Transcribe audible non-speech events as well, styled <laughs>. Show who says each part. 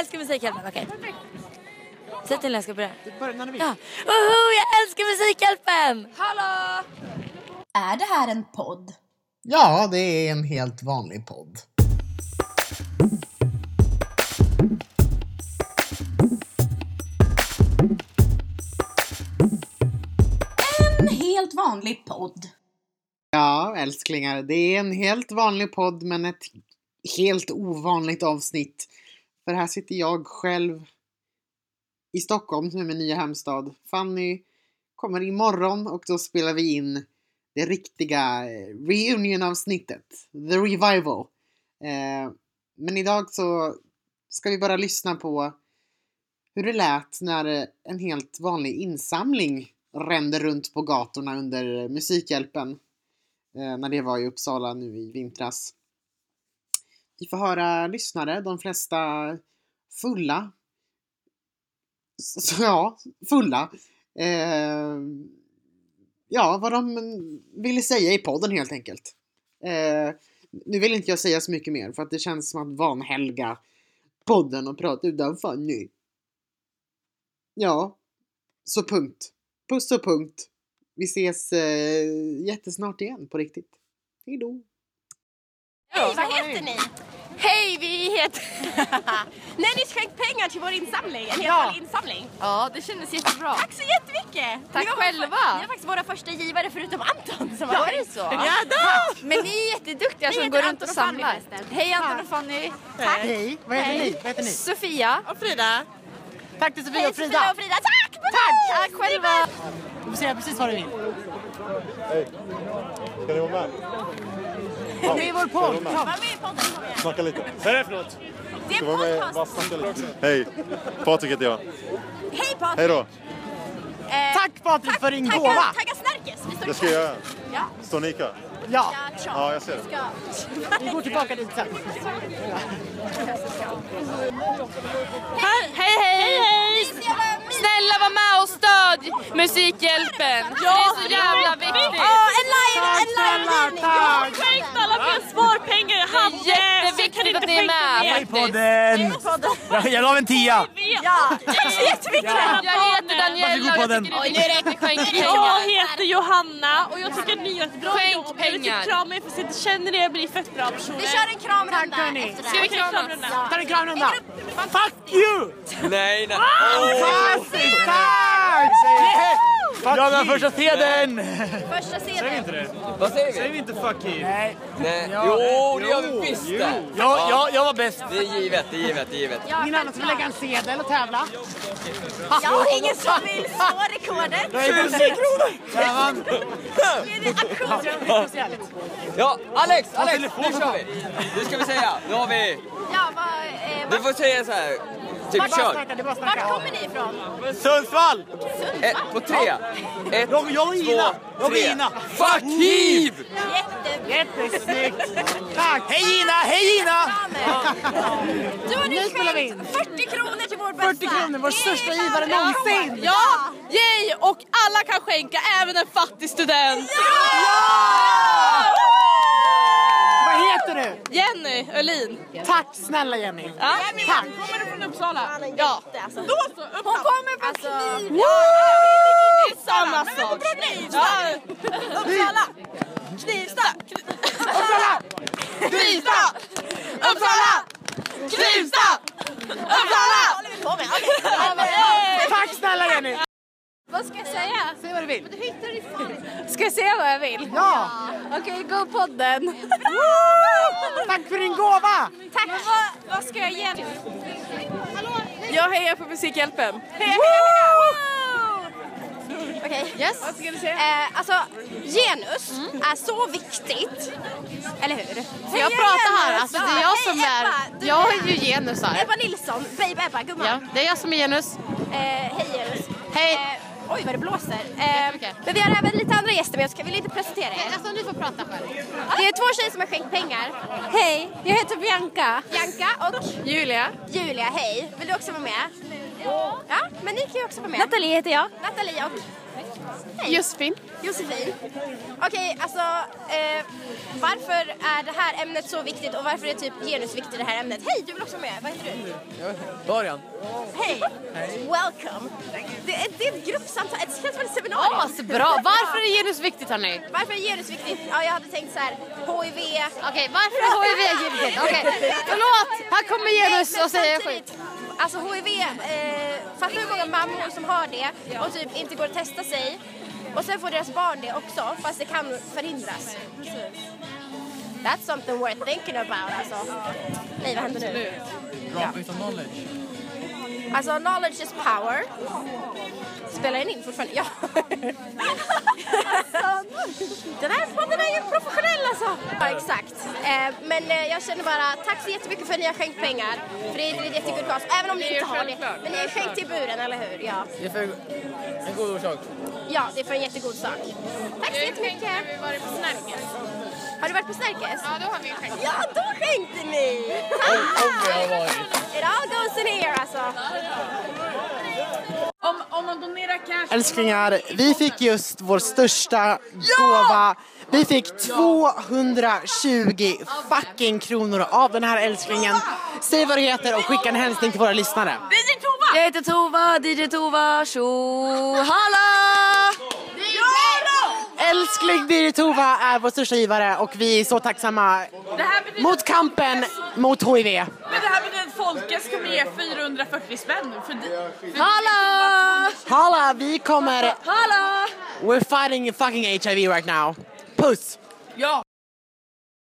Speaker 1: älskar Musikhjälpen. Okej. Säg till när jag ska börja.
Speaker 2: Börja när du vill.
Speaker 1: Ja. Woho, jag älskar Musikhjälpen! Hallå!
Speaker 3: Är det här en podd?
Speaker 4: Ja, det är en helt vanlig podd.
Speaker 3: En helt vanlig podd.
Speaker 4: Ja, älsklingar. Det är en helt vanlig podd men ett helt ovanligt avsnitt. För här sitter jag själv i Stockholm som är min nya hemstad. Fanny kommer imorgon och då spelar vi in det riktiga eh, reunion-avsnittet. The Revival. Eh, men idag så ska vi bara lyssna på hur det lät när eh, en helt vanlig insamling rände runt på gatorna under eh, Musikhjälpen eh, när det var i Uppsala nu i vintras. Vi får höra lyssnare, de flesta fulla. Så, <laughs> ja, fulla. Eh, ja, vad de ville säga i podden helt enkelt. Eh, nu vill inte jag säga så mycket mer för att det känns som att vanhelga podden och prata utan Fanny. Ja, så punkt. Puss och punkt. Vi ses eh, jättesnart igen på riktigt. Hejdå!
Speaker 5: Hej, vad heter ni?
Speaker 1: Hej, vi heter...
Speaker 5: <laughs> Nej, ni skänkt pengar till vår insamling. En hel vanlig insamling.
Speaker 6: Ja, det kändes jättebra.
Speaker 5: Tack så jättemycket!
Speaker 6: Tack
Speaker 5: ni var,
Speaker 6: själva.
Speaker 5: Ni var faktiskt våra första givare förutom Anton som har
Speaker 6: Var
Speaker 5: varit.
Speaker 6: det så?
Speaker 5: Ja, då!
Speaker 6: Men ni är jätteduktiga
Speaker 5: Vi
Speaker 6: som
Speaker 5: heter
Speaker 6: går runt
Speaker 5: Anton
Speaker 6: och
Speaker 5: och Fanny
Speaker 6: samlar.
Speaker 5: förresten.
Speaker 6: Hej Anton och Fanny.
Speaker 2: Hej. Vad heter ni? Vad heter ni?
Speaker 6: Sofia.
Speaker 2: Och Frida. Tack till Sofia och
Speaker 5: Sofia
Speaker 2: Frida.
Speaker 5: och Frida, tack!
Speaker 6: Tack själva.
Speaker 2: Du får säga precis vad du vill.
Speaker 7: Hej! Ska ni vara med? Ja,
Speaker 2: Det är vår podd. Kom.
Speaker 5: Var med i podden, kom igen.
Speaker 7: Snacka lite. Vad är det för något?
Speaker 5: Det är
Speaker 7: Ska vara med
Speaker 5: podcast.
Speaker 7: bara snacka lite. Hej! Patrik heter jag.
Speaker 5: Hej Patrik!
Speaker 7: Hej då!
Speaker 5: Eh,
Speaker 2: Tack Patrik för din
Speaker 5: tagga-
Speaker 2: gåva.
Speaker 5: Tagga Snärkes, vi står i
Speaker 7: Det ska jag göra.
Speaker 5: Ja,
Speaker 7: Står ni kvar?
Speaker 2: Ja,
Speaker 5: ja, tja.
Speaker 7: Ja, jag ser det.
Speaker 2: vi går tillbaka dit sen.
Speaker 6: Hej hej. Snälla var med och stöd Musikhjälpen. Det är så jävla viktigt.
Speaker 5: en live, en live
Speaker 2: tack.
Speaker 5: Skänk alla för sparpengar i
Speaker 6: Det är jätteviktigt att ni är med faktiskt.
Speaker 8: podden! Jag, jag la en tia!
Speaker 5: Ja, tack så jättemycket!
Speaker 6: Jag heter Daniela och jag
Speaker 8: Varsågod,
Speaker 6: tycker det är viktigt att skänka
Speaker 9: Jag
Speaker 6: pengar.
Speaker 9: heter Johanna och jag tycker att ni gör ett bra
Speaker 6: Skänk
Speaker 9: jobb. Jag vill
Speaker 6: pengar.
Speaker 9: typ krama er för att jag inte känner er, men ni är fett bra personer.
Speaker 5: Vi kör en kramrunda efter det
Speaker 6: Ska vi
Speaker 5: här.
Speaker 6: kramas?
Speaker 2: Ta en kramrunda. Fuck you!
Speaker 8: Nej, nej.
Speaker 2: Fantastiskt! Tack! Säg- Fuck
Speaker 8: Jag
Speaker 2: you.
Speaker 8: den första teden!
Speaker 5: Första scenen.
Speaker 8: Vad säger vi?
Speaker 10: inte fuck you.
Speaker 2: Nej.
Speaker 8: Nej.
Speaker 2: Ja,
Speaker 8: Jo,
Speaker 2: nej.
Speaker 8: det gör vi
Speaker 2: Jo,
Speaker 8: visst
Speaker 2: jo.
Speaker 8: det.
Speaker 2: Ja, ja, jag var bäst.
Speaker 8: Det är givet, det är givet, det är givet.
Speaker 2: Ingen annan som vill lägga en sedel och tävla?
Speaker 5: Ja, ingen som vill slå rekordet.
Speaker 2: Jag vann.
Speaker 5: Blir det auktion?
Speaker 10: Ja, Alex, Alex, nu kör vi! Nu ska vi säga, nu har vi...
Speaker 5: Ja, vad, eh,
Speaker 10: Du
Speaker 5: vart,
Speaker 10: får säga så här,
Speaker 2: Det är
Speaker 10: typ
Speaker 2: bara att
Speaker 10: kör.
Speaker 2: snacka, det är bara att
Speaker 5: vart
Speaker 2: snacka.
Speaker 5: kommer ni ifrån?
Speaker 8: Sundsvall!
Speaker 10: Ett, på tre. Ett,
Speaker 8: Jag- jag och Ina. Jag
Speaker 10: två,
Speaker 8: och
Speaker 10: tre.
Speaker 8: Ina.
Speaker 10: Fuck hiv!
Speaker 5: Jättebra.
Speaker 2: Jättesnyggt! Tack!
Speaker 8: Hej Gina, hej Gina!
Speaker 5: Du har nu
Speaker 2: spelar vi in.
Speaker 5: skänkt 40 kronor till vår bästa.
Speaker 2: 40 kronor, vår
Speaker 5: Det är
Speaker 2: största
Speaker 5: fan
Speaker 2: givare
Speaker 5: bra.
Speaker 2: någonsin!
Speaker 9: Ja! Yay! Och alla kan skänka, även en fattig student.
Speaker 2: Ja! Vad heter du?
Speaker 9: Jenny Öhlin.
Speaker 2: Tack snälla Jenny!
Speaker 9: Ja.
Speaker 2: Tack!
Speaker 9: Kommer du från Uppsala? Ja. Då så,
Speaker 5: Hon
Speaker 9: upp
Speaker 5: kommer på alltså,
Speaker 9: Det är samma sak. Ja.
Speaker 5: Uppsala. Knivsta.
Speaker 9: Knivsta! Uppsala! Knivsta! Uppsala!
Speaker 5: Vad håller vi på med? Okej. Ja, men-
Speaker 2: Tack snälla Jenny!
Speaker 6: Vad ska jag säga?
Speaker 2: Säg vad du vill.
Speaker 6: Ska jag säga vad jag vill?
Speaker 2: Ja!
Speaker 6: Okej, go podden.
Speaker 2: Tack för din gåva!
Speaker 6: Tack. Vad, vad ska jag ge? Jag hejar på Musikhjälpen.
Speaker 5: Okej. Yes. Eh, alltså, genus är så viktigt. Eller hur?
Speaker 6: Mm. Jag pratar här, alltså det är jag som är... Jag är ju genus här.
Speaker 5: Ebba Nilsson, baby Ebba, gumman.
Speaker 6: Ja, det är jag som är genus.
Speaker 5: Eh, hej Genus.
Speaker 6: Hej.
Speaker 5: Eh, oj vad det blåser. Eh,
Speaker 6: Jättemycket.
Speaker 5: men vi har även lite andra gäster med oss, kan vi inte presentera er?
Speaker 6: Alltså ni får prata själv.
Speaker 5: Det är två tjejer som har skänkt pengar.
Speaker 6: Hej, jag heter Bianca.
Speaker 5: Bianca och
Speaker 6: Julia.
Speaker 5: Julia, hej. Vill du också vara med? Ja, men ni kan ju också vara med.
Speaker 1: Nathalie heter jag.
Speaker 5: Nathalie och... Hej.
Speaker 9: Josefin.
Speaker 5: Josefin. Okej, alltså eh, varför är det här ämnet så viktigt och varför är typ genus viktigt i det här ämnet? Hej, du vill också vara med. Vad heter du?
Speaker 10: Början.
Speaker 5: Hej! Welcome! Det är, det är ett gruppsamtal, det känns som ett seminarium.
Speaker 11: Asbra! Varför är genus viktigt hörni?
Speaker 5: Varför är genus viktigt? Ja, jag hade tänkt så här, HIV. Okej,
Speaker 11: varför är HIV
Speaker 9: <laughs>
Speaker 11: viktigt? Okej, förlåt! Här kommer genus och säger skit.
Speaker 5: Alltså HIV, eh, fattar hur många mammor som har det och typ inte går att testa sig. Och sen får deras barn det också, fast det kan förhindras. That's something worth thinking about alltså. Nej, vad händer nu?
Speaker 10: Dropping some knowledge.
Speaker 5: Alltså, knowledge is power. Spelar den in fortfarande? Ja. Den här podden är ju professionell alltså. Ja, exakt. Eh, men eh, jag känner bara, tack så jättemycket för att ni har skänkt pengar. För det är ett jättekul cause, även om ni inte har det. Men ni har skänkt till buren, eller hur? Ja.
Speaker 10: Det är för en god orsak.
Speaker 5: ja, det är för en jättegod sak. Tack så jättemycket.
Speaker 6: Eh, Vi var på Snärkes.
Speaker 5: Har du varit på Snärkes?
Speaker 6: Ja, då har vi ju skänkt.
Speaker 5: Ja, då skänkte ni! It all goes in here alltså.
Speaker 9: Om, om man donerar cash...
Speaker 2: Älsklingar, vi fick just vår största gåva. Vi fick 220 fucking kronor av den här älsklingen. Säg vad du heter och skicka en hälsning till våra lyssnare.
Speaker 9: DJ Tova!
Speaker 1: Jag heter Tova, DJ Tova, tjo, hallå!
Speaker 2: Älskling Birgit Tova är vår största givare och vi är så tacksamma
Speaker 9: Det här betyder...
Speaker 2: mot kampen mot HIV.
Speaker 9: Men det här betyder att Folkets kommer ge 440 spänn för di- för
Speaker 1: Hallå!
Speaker 2: Halla, vi kommer...
Speaker 1: Hallå!
Speaker 2: We're fighting fucking HIV right now. Puss!
Speaker 9: Ja!